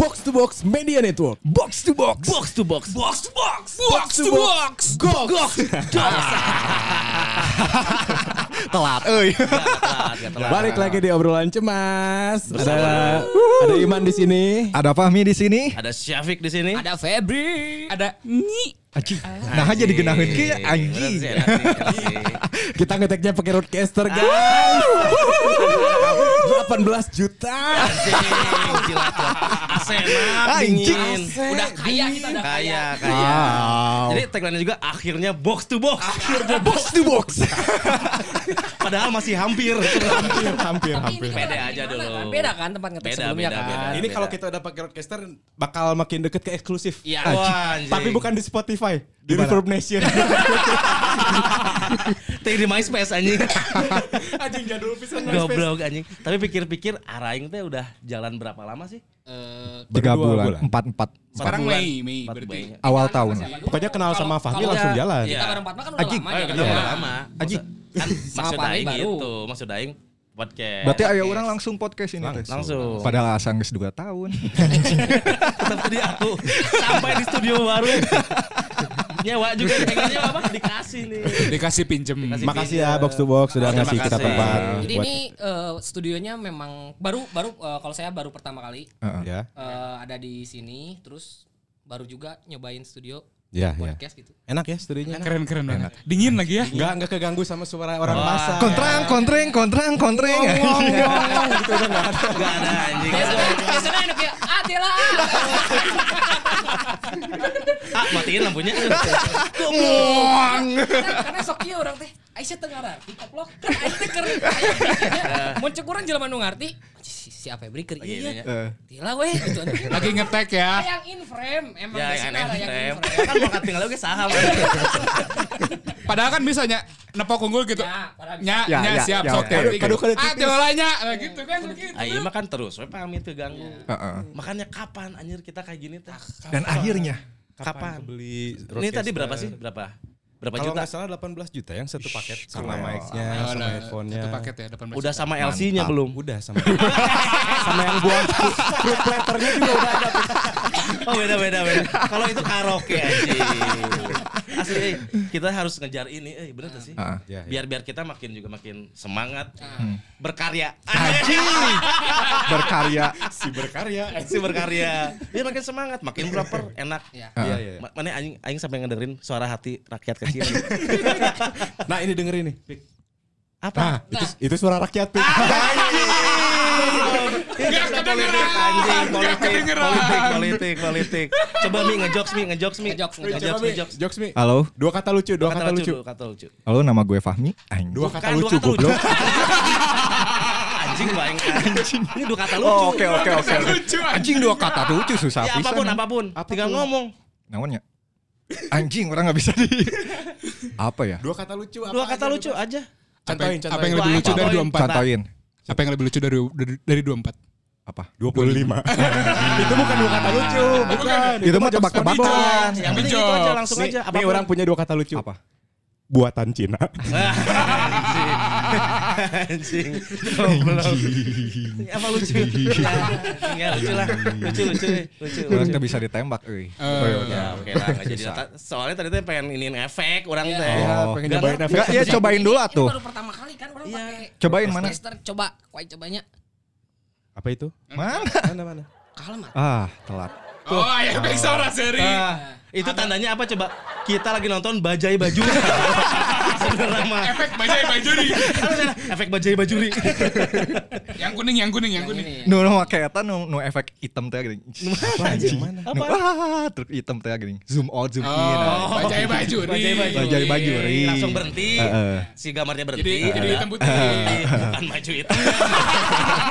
Box to Box Media Network. Box to box. Box to box. Box to box. Box to box. Gox. Telat. Euy. Balik lagi di obrolan cemas. Ada ada Iman di sini. Ada Fahmi di sini. Ada Syafiq di sini. Ada Febri. Ada Nyi. Nah aja digenahin ke Iya, anjing. Kita ngeteknya pakai roadcaster guys. 18 juta. Asenan, Anjing. ah, dingin. Udah kaya kita udah kaya. Kaya, kaya. Jadi tagline juga akhirnya box to box. Box to box. Padahal masih hampir. Hampir Tapi ini hampir. kan Beda tempat aja di mana dulu. kan? Beda kan tempat ngetek Beda, sebelumnya beda, kan. Nah, beda. Ini kalau kita udah pakai roadcaster bakal makin deket ke eksklusif. Iya. Wah, anjing. Tapi bukan di Spotify, di Di mana? Reverb Nation. Take di MySpace anjing. Anjing jadul pisan MySpace. Goblok anjing. Tapi pikir-pikir Araing teh udah jalan berapa lama sih? Eh, Tiga Berdua bulan. bulan. Empat empat. Sekarang bulan. Mei, Mei Empat berarti. bulan. Awal tahun. Pokoknya kenal sama Fahmi kalau- langsung jalan. Iya. Kita bareng Fatma kan udah Anjing. lama ya. Kan Iya. udah lama. Anjing. Kan maksud aing Sama Pak Aing gitu, baru. maksud aing podcast. Berarti ayo orang langsung podcast ini. Langsung. Tess. Langsung. Padahal asal geus dua tahun. tetap tadi aku sampai di studio baru. Nyewa juga pengen nyewa apa? Dikasih nih. Dikasih pinjem. Dikasih. Makasih ya Box to Box sudah Terima ngasih kita kasih. tempat. Jadi buat- ini eh, studionya memang baru baru eh, kalau saya baru pertama kali Heeh. ya. eh, ada di sini terus baru juga nyobain studio Ya, ya. podcast gitu. Enak ya studionya. Keren-keren banget. Dingin lagi ya. Enggak enggak keganggu sama suara orang masa. Kontrang, kontreng, kontrang, kontreng. Enggak ada anjing. Iya, Biasanya enak ya. Adalah. Ah, matiin lampunya. Karena sok ieu orang teh. Aisyah teu ngarti koplok. Kan aing teh keur. Aya pikirnya, Mun cukuran jelema nu ngerti. Si, si Febri keur Gini iya. ya. Tila weh gitu. Lagi ngetek ya. Yang in frame emang Ya, geus yang ada yang in frame. frame. Kan mau ketinggalan gue saham. Padahal kan bisa nya nepok unggul gitu. Ya, padahal bisa. Nya, Ya, nya ya, siap ya, sok oke. hati. Kadu-kadu tipis. Ah, lah nya. Nah, gitu kan begitu. Ah, iya mah kan terus, we pamit keganggu. Heeh. Makanya kapan anjir kita kayak gini teh? Dan akhirnya Kapan? beli Ini tadi berapa sih? Berapa? Berapa Kalau juta? nggak salah 18 juta yang satu paket sama keren. mic-nya, Oh, sama nah, headphone-nya. Satu paket ya, 18. Udah sama LC-nya belum? Udah sama. sama yang buang fruit platternya juga udah ada. Oh beda beda beda. Kalau itu karaoke anjing. Asli eh, kita harus ngejar ini. Eh bener gak sih? Heeh. Ya, ya. Biar biar kita makin juga makin semangat berkarya. Anjing. berkarya. Si berkarya. Si berkarya. Biar makin semangat, makin proper, enak. Ya. Iya, Heeh. iya. Ma- Mana anjing anjing sampai ngedengerin suara hati rakyat kecil. Nah, ini dengerin nih. Apa? Nah, Itu, itu suara rakyat, Pik. Itu sudah politik anjing, politik, politik, politik, politik. Coba mi ngejokes mi, ngejokes mi. Ngejokes, ngejokes. ngejokes, ngejokes. Jokes, Mi. Halo. Dua kata lucu, dua, Kata lucu, kata lucu. Halo, nama gue Fahmi. Anjing. Dua kata Bukan, dua lucu, kata lucu. goblok. Anjing gua yang anjing. Ini dua kata lucu. Oh, oke oke oke. Lucu, Anjing dua kata tuh lucu susah Ya apapun pisan. apapun, tinggal ngomong. Namanya. Anjing orang nggak bisa di. Apa ya? Dua kata lucu apa Dua kata aja, lucu aja. Apa yang- Contohin, Apa yang contohin. lebih lucu dari Contohin. 24? Contohin. Apa yang lebih lucu dari dari 24? Apa? 25. itu bukan dua kata lucu, bukan. Itu mah jokes tebak-tebakan. komedi. Ah, Yang penting itu aja Jokes. langsung Mi, aja. Mi, orang punya dua kata lucu. Apa? Buatan Cina. Ah, anjing. Anjing. Apa lucu? Ya, ya, lucu lah. Lucu, lucu, lucu. Orang lucu. nggak bisa ditembak, euy. Eh. Ya, oke lah. nggak jadi. Ta- Soalnya tadi tuh pengen iniin efek orang Iya, kan? Ya, teh. Oh. pengen Nggak, nyobain Enggak, efek. ya cobain dulu Ini atuh. baru pertama kali kan orang Iya. pakai Cobain mana? Tester coba, kuai cobanya. Apa itu? Mana? Mana mana? Kalem ah. Ah, telat. Oh, ayo back suara seri. Ah, itu tandanya apa coba? Kita lagi nonton Bajai Bajuri. Sebenarnya mah. Efek bajai bajuri. Apa sih? Efek Bajai Bajuri. Yang kuning, yang kuning, yang kuning. Ini ya. Nu nu make eta nu nu efek hitam teh gini. Anjing mana? Nu ah, truk hitam teh gini. Zoom out, zoom in. ah. Oh, iya, bajai bajuri. Bajai Bajuri. Iya, Bajai Iya. Bajuri. Langsung berhenti. Heeh. Si gambarnya berhenti. Jadi jadi hitam putih. Berhenti. Bukan maju itu.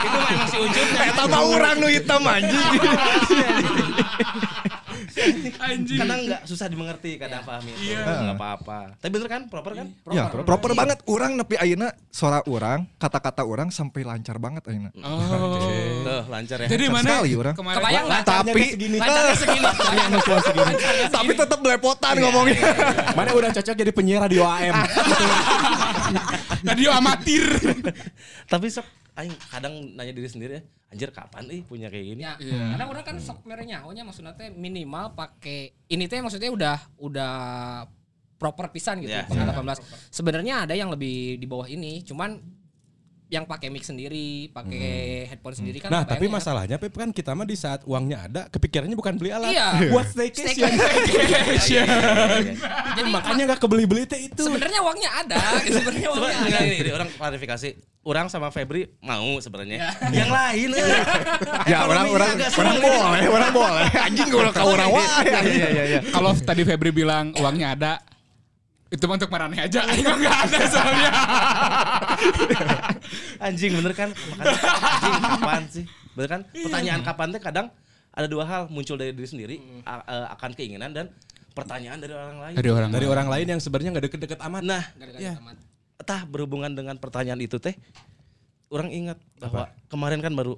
itu mah emang si ujungnya. Eta mah urang nu hitam anjing. Anjing. Kadang nggak susah dimengerti, kadang paham itu. Iya. Nggak apa-apa. Tapi bener kan? Proper kan? Ya, proper, banget. Orang nepi ayeuna suara orang, kata-kata orang sampai lancar banget ayeuna. Oh. Tuh, lancar ya. Jadi Lancar mana? sekali orang. Kemarin Kebayang nggak? Tapi Lancarnya segini. tapi tetap belepotan ngomongnya. Mana udah cocok jadi penyiar radio AM. radio amatir. Tapi sok aing kadang nanya diri sendiri ya, anjir kapan eh punya kayak gini? Ya, Iya. karena orang kan sok mere nyahonya maksudnya teh minimal pakai ini teh maksudnya udah udah proper pisan gitu Ya, Iya. pengalaman 18. Sebenarnya ada yang lebih di bawah ini, cuman yang pakai mic sendiri, Hmm. pakai headphone sendiri kan Nah, kebayang tapi ya. masalahnya Pep kan kita mah di saat uangnya ada, kepikirannya bukan beli alat. Iya. Buat staycation. Staycation. gitu ya. Jadi Makanya nggak kebeli-beli teh itu. sebenarnya uangnya ada, sebenarnya Coba uangnya iya. ada. enggak, ini, ini orang klarifikasi. Orang sama Febri mau sebenarnya. Yang lain eh. Ekonominya Ya orang orang agak orang sulit. boleh, orang boleh. Anjing gue udah ke orang wah. Iya, iya, iya. Kalau tadi Febri bilang uangnya ada, itu mah untuk marane aja. Aing mah nggak ada soalnya. Anjing bener kan? Makanya, anjing kapan sih? Bener kan? Pertanyaan kapan teh kadang ada dua hal muncul dari diri sendiri a- eh, akan keinginan dan pertanyaan dari orang lain. Dari orang Dari orang lain yang sebenarnya nggak deket-deket amat. Nah, Gara-gara Iya. tamat. tah berhubungan dengan pertanyaan itu teh orang ingat bahwa kemarin kan baru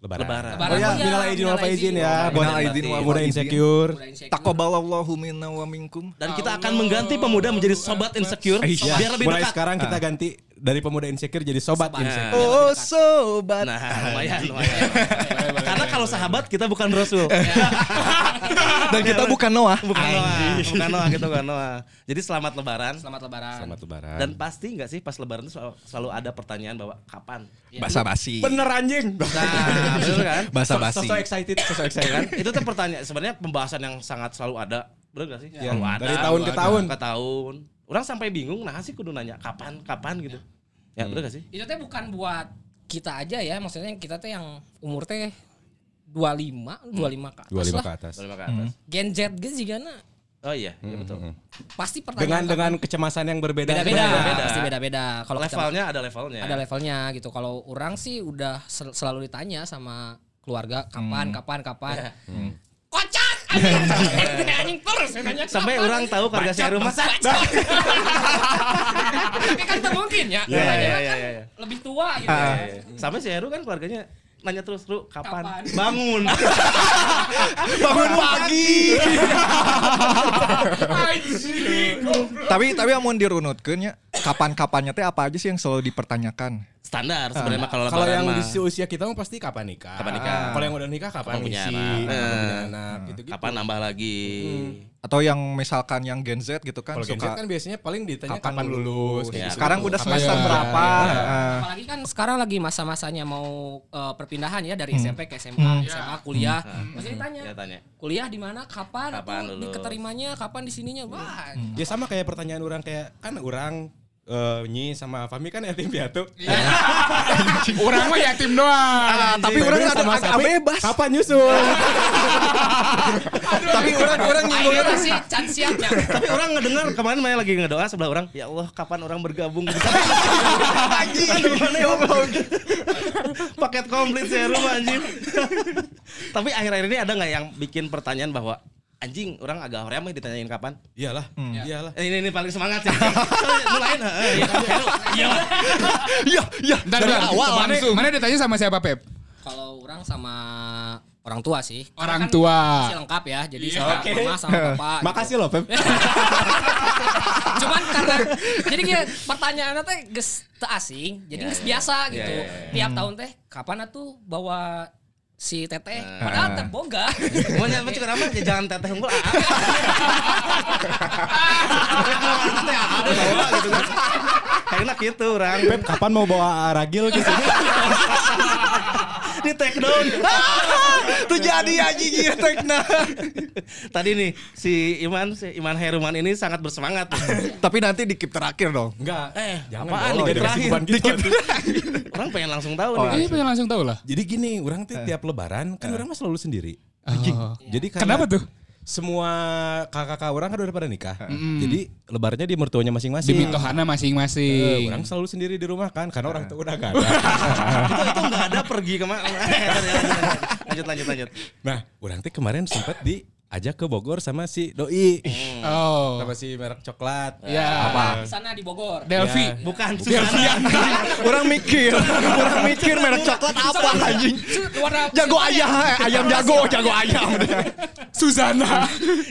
Lebaran. lebaran. Lebaran. Oh ya, Oh iya, minal aidin wal minal aidin. faizin ya. Minal Buat aidin wal muda faizin. insecure. Udah insecure. Taqabbalallahu minna wa minkum. Dan kita akan mengganti pemuda menjadi sobat insecure Iya. biar lebih Mulai dekat. sekarang kita ganti dari pemuda insecure jadi sobat Sobat. insecure. Oh sobat. Nah, lumayan, lumayan. Karena kalau sahabat kita bukan Rasul. Dan kita bukan Noah. bukan Noah, bukan Noah, kita bukan Noah. Jadi selamat lebaran. Selamat lebaran. Selamat lebaran. Dan pasti nggak sih pas lebaran itu selalu, selalu ada pertanyaan bahwa kapan? Iya. Basa-basi. Bener anjing. Nah, betul kan? Basa-basi. So, so excited, so, so Ya kan? excited. Itu tuh pertanyaan sebenarnya pembahasan yang sangat selalu ada. Bener gak sih? Ya, Selalu ada. dari tahun ke selalu tahun. ada, Ke tahun. Orang sampai bingung, nah sih kudu nanya kapan, kapan gitu. Ya, bener gak sih? Itu teh bukan buat kita aja ya, maksudnya kita teh yang umur teh 25, 25 ke atas Dua lima lah. ke atas. Dari Hmm. ke atas. Gen Z ge jigana Oh iya, iya betul. Hmm. pasti Dengan pertanyaan dengan kecemasan yang berbeda. beda-beda Beda-beda. pasti beda-beda kalau kita- Levelnya ada levelnya. ada levelnya gitu kalau orang sih udah sel- selalu ditanya sama keluarga Hmm. kapan kapan kapan kocak anjing anjing terus nanya Sampai kapan. orang tahu harga sewa Bacot, rumah. bacot. tapi kan tak mungkin ya Iya, Karena iya, kan iya, Ah. iya. lebih tua gitu ya. Sampai si Heru kan keluarganya nanya terus, "Ru, kapan? Kapan?" Bangun." Bangun pagi. Anjing. tapi tapi amun dirunutkeun ya, kapan-kapannya teh apa aja sih yang selalu dipertanyakan? Standar sebenarnya mah Ah, kalau Kalau lebaran yang mah. di usia kita mah pasti kapan nikah. Kapan nikah. Kalau yang udah nikah kapan, Kapan punya ngisi, anak. kapan punya Eh. anak, gitu-gitu. kapan nambah lagi? Hmm. Atau yang misalkan yang Gen Z gitu kan Kalau Gen Z suka kan biasanya paling ditanya Kapan kapan, lulus. lulus, kayak ya. gitu. sekarang udah semester Iya. berapa? Iya. Heeh. apalagi kan sekarang lagi masa-masanya mau eh, perpindahan ya dari SMP ke SMA Ya. SMA kuliah masih ditanya Kita Iya, tanya. kuliah di mana kapan, Hmm. Ya. Kapan aku lulus? Hmm. diketerimanya kapan di sininya wah Ya sama kayak pertanyaan orang kayak kan orang eh, Nyi sama Fami kan yatim piatu. Orang mah yatim doang. Ah, tapi Bebe orang ada kan sama agak Sapi, bebas. Kapan nyusul? Tapi orang orang nyinggung akhirnya Ah, iya sih chance ya. siapnya Tapi orang ngedengar kemarin Maya lagi ngedoa sebelah orang, "Ya Allah, kapan orang bergabung?" anjing. Aduh, mana ya Allah. Paket komplit si Heru mah, anjing. Tapi akhir-akhir ini ada nggak yang bikin pertanyaan bahwa anjing orang agak hoream ya ditanyain kapan? Iyalah, iyalah. Eh, Ini ini paling semangat sih. Mulai nah. Iya, Heru. Iya. Iya, iya. Ntar Dari Bang, awal mana, langsung. mana ditanya sama siapa Pep? Kalau orang sama orang tua sih. Karena kan Orang tua. masih lengkap ya. Jadi sama oke. mama sama bapak. gitu. Makasih loh, Pep. Iya. Cuman karena jadi kayak pertanyaannya teh geus teu asing, jadi Iya, geus biasa gitu. ya, Tiap tahun teh kapan atuh bawa si teteh Nah. padahal teh boga. Mau nyampe cukup ramah aja jangan teteh unggul. ah. Teteh ah, bawa gitu kan. Enak gitu orang. Pep kapan mau bawa ragil gitu? Di take down. Tuh jadi anjing iya, ieu tekna. Tadi nih si Iman si Iman Heruman ini sangat bersemangat. Tapi nanti di keep terakhir dong. Enggak. Eh, Jangan apaan dong, nih dikasih terakhir? beban gitu. Orang pengen langsung tahu Oh, nih. Ini pengen Eh, langsung tahu lah. Jadi gini, orang Eh. tuh tiap lebaran kan orang mah selalu sendiri. Oh. Jadi karena Kenapa tuh? Semua kakak-kakak orang kan udah pada nikah. Eh. Jadi lebarnya di mertuanya masing-masing. Di Eh, mitohana masing-masing. orang selalu sendiri di rumah kan karena Eh. orang tuh udah gak ada. Itu itu enggak ada pergi kemana. Lanjut lanjut lanjut. nah, orang tuh kemarin sempat di ajak ke Bogor sama si doi Oh. sama si merek coklat Ya. Apa? Di sana di Bogor. Delvi. Ya. Bukan Delvian. Orang mikir, orang mikir merek coklat apa anjing. Warna Jago ayam, Eh, ayam jago, jago ayam. Suzana.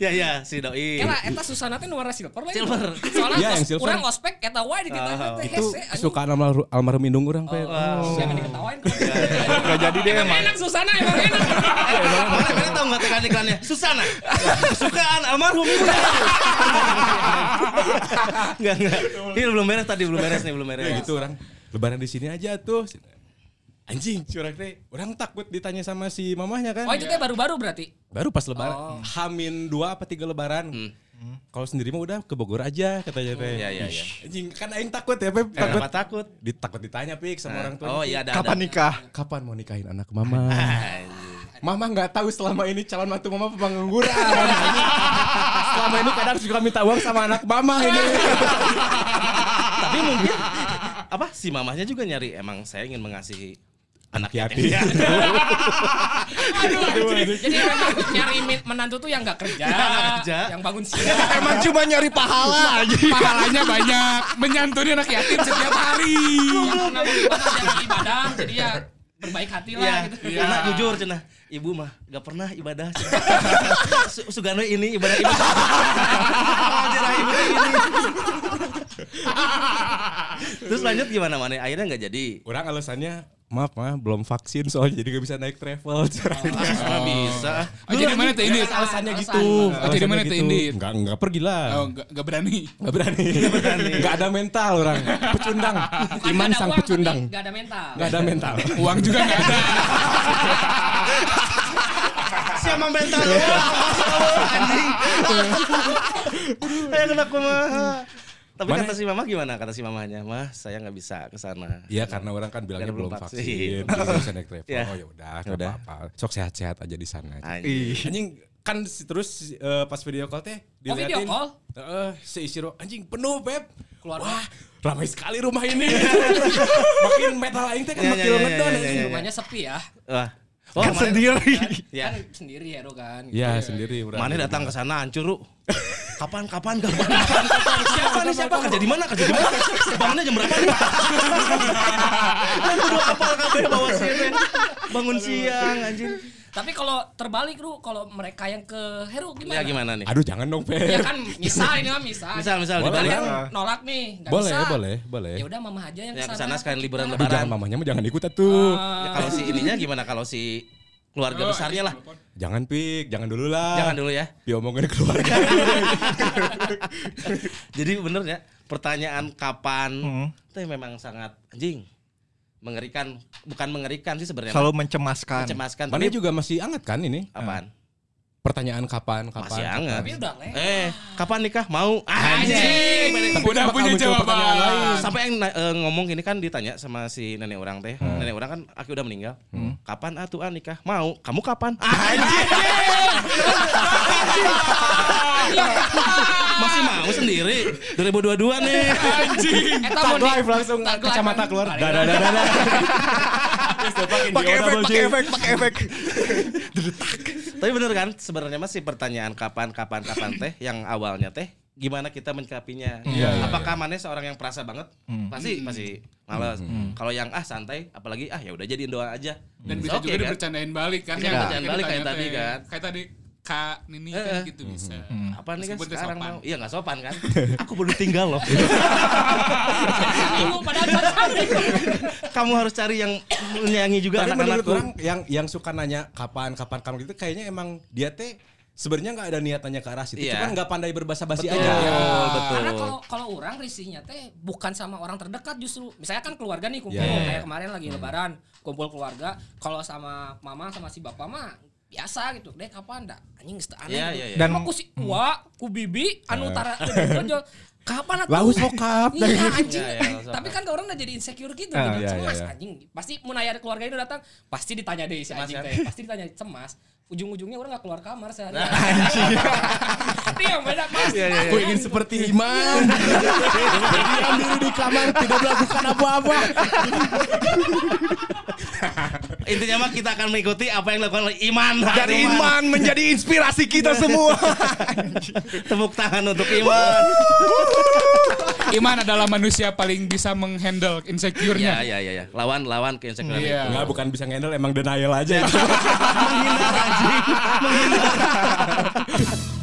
ya ya si doi. Karena Iya, eta Susana teh nu warna silver lah. Silver. Soalnya Iya, pas yang silver. Ah, urang ospek eta wae di titahnya teh itu hese, anjing. suka almarhum, almarhum indung orang Pe. Wow. Jangan diketawain. Gak jadi deh Emang emang. enak Susana emang enak. Orang kalian tahu nggak tekan iklannya? Susana. Kesukaan almarhum ibu. Enggak enggak. Ini belum beres tadi belum beres nih belum beres. Kayak gitu orang lebaran di sini aja tuh. Anjing curang teh. Orang takut ditanya sama si mamahnya kan. Oh itu teh baru-baru berarti. Baru pas Oh. lebaran. Hamin dua apa tiga lebaran. Kalau sendiri mah udah ke Bogor aja katanya teh. Hmm. Iya iya iya. Anjing kan aing takut ya, Pep. Takut. Kenapa takut? Ditakut ditanya pik sama orang tua. Oh iya ada. Eh, Kapan nikah? Kapan mau nikahin anak mama? Mama nggak tahu selama ini calon mantu mama pengangguran. selama ini kadang suka minta uang sama anak mama ini. Tapi mungkin apa si mamahnya juga nyari emang saya ingin mengasihi anak Hati-hati. yatim. Jadi memang nyari min- menantu tuh yang gak kerja, Yang nggak kerja. yang bangun siang. Emang cuma nyari pahala anjing. Pahalanya banyak. Menyantuni anak yatim setiap hari. yang pernah beribadah, jadi ibadah, jadi ya berbaik hati lah Iya, gitu. iya. Nah, jujur cenah. Ibu mah gak pernah ibadah. cenah. Su- Sugano ini ibadah ibadah. Cenah, ibu ini. Terus lanjut gimana mana? Akhirnya nggak jadi. Orang alasannya maaf mah belum vaksin soalnya jadi gak bisa naik travel. Ah, Ya mana bisa. Oh, jadi mana teh ini? alasannya Alasan. gitu. Oh, jadi mana tuh Indit? Enggak, enggak pergi lah. Oh, nggak nggak berani. Enggak berani. Enggak ada mental orang. Pecundang. Bukan Iman nggak ada sang uang, pecundang. Iya, tapi Nggak ada mental. Enggak ada mental. Uang juga nggak ada. Siapa mental lu? Anjing. Ayo kena kumaha. Tapi Mana? kata si mama gimana? Kata si mamanya, mah saya nggak bisa ke sana. Iya karena orang kan bilangnya Karena belum belum vaksin. vaksin, belum bisa naik travel. Iya. Oh ya udah, enggak Yaudah. apa-apa. Sok sehat-sehat aja di sana. Anjing. Anjing kan si- terus eh, pas video call teh Oh, video diliatin, call? Heeh, seisi ruang anjing penuh, Beb. Keluar. Wah, ramai sekali rumah ini. makin metal aing teh kan Iya, makin iya, iya, ngedon. iya, anjing. iya. Rumahnya sepi ya. Wah. Oh, Kan mana- sendiri. Ya. Kan sendiri Hero kan. Iya, sendiri udah. Mana datang ke sana hancur lu. Kapan kapan kapan kapan kapan siapa nih siapa kerja di mana kerja di mana bangunnya jam berapa nih kan udah kapal kabeh bawa sini bangun siang anjir Tapi kalau terbalik lu kalau mereka yang ke Hero ya gimana? gimana nih Aduh, jangan dong, Beb. Ya kan misal ini mah misal. misal misal Boleh, dibalik Kan nolak nih, nggak Boleh, bisa. boleh, boleh. Ya udah mama aja yang Ah. ya kesana kesana. Ah. sekalian liburan Tapi jangan lebaran mamanya mah jangan ikut tuh. Ya, kalau si ininya gimana kalau si Oh, keluarga besarnya lah Jangan pik, jangan dulu lah. jangan dulu ya Diomongin keluarga. Jadi bener ya pertanyaan kapan Hmm. itu memang sangat anjing mengerikan bukan mengerikan sih sebenarnya Selalu mencemaskan. mencemaskan Mana tapi juga masih anget kan ini? apaan Pertanyaan kapan, kapan? masih kapan. hangat Tapi udah leh. eh kapan nikah mau Anjing. anjing Tapi Udah bakal punya muncul jawaban. Hmm. pertanyaan lain. sampai yang na- eh, ngomong gini kan ditanya sama si nenek orang teh Hmm. nenek orang kan aki udah meninggal kapan atuh ah nikah mau kamu kapan anjing masih mau sendiri 2022 nih Anjing. Eta Tag mau di- live langsung tag live. kacamata keluar. Balik Dah dah dah dah. dah. Yes, the fucking Pakai efek, deodable, pakai Jing. efek, pakai efek. Tapi bener kan sebenarnya masih pertanyaan kapan kapan kapan teh yang awalnya teh gimana kita menyikapinya? Iya, Hmm. iya, Apakah maneh seorang yang perasa banget? Pasti pasti males. Hmm. Kalau yang ah santai apalagi ah ya udah jadiin doa aja. Dan It's bisa okay, juga kan? dipercandain balik kan. Iya, yang bercandain ketika balik kayak ditanya tadi teh, kan. Kayak tadi Kak Nini kan Eh, eh. gitu bisa. Hmm. Apa nih kan Meskipun teh sekarang sopan. mau? Iya nggak sopan kan? Aku baru tinggal loh. Ibu padahal cocok. Kamu harus cari yang menyayangi juga Tapi menurut anak-anakku. orang yang yang suka nanya kapan kapan kapan gitu kayaknya emang dia teh sebenarnya nggak ada niatannya ke arah situ. Iya. Cuman nggak pandai berbahasa Iya. basi Betul, aja. betul. Karena kalau kalau orang risihnya teh bukan sama orang terdekat justru. Misalnya kan keluarga nih kumpul Iya. kayak kemarin Hmm. lagi lebaran, kumpul keluarga. Kalau sama mama sama si bapak mah biasa gitu. Deh kapan dah? Anjing geus teu aneh. Iya, gitu. iya, iya. Dan- Emang ku si Ua, ku Bibi, Eh. anu utara tonjol. Kapan atuh? Lalu sokap. Iya anjing. Iya, iya, langsung. Tapi kan orang udah jadi insecure gitu, Ah, jadi iya, iya, cemas iya. anjing. Pasti mun aya keluarga ini datang, pasti ditanya deh si anjing teh. Pasti ditanya cemas. Ujung-ujungnya orang gak keluar kamar sehari. Itu yang beda pasti. Iya, iya, Aku ingin seperti Iman. Iya. Diam diri di kamar, tidak melakukan apa-apa. Intinya mah kita akan mengikuti apa yang dilakukan oleh Iman. Aduh, Man. Dari iman menjadi inspirasi kita Iya. semua. Tepuk tangan untuk Iman. Iman adalah manusia paling bisa Ya, menghandle insecure-nya. ya, ya, ya. Lawan, lawan ke insecure. itu. Iya. Enggak, bukan bisa Iya. ngendel, emang denial aja. Menghindar anjing. Menghindar.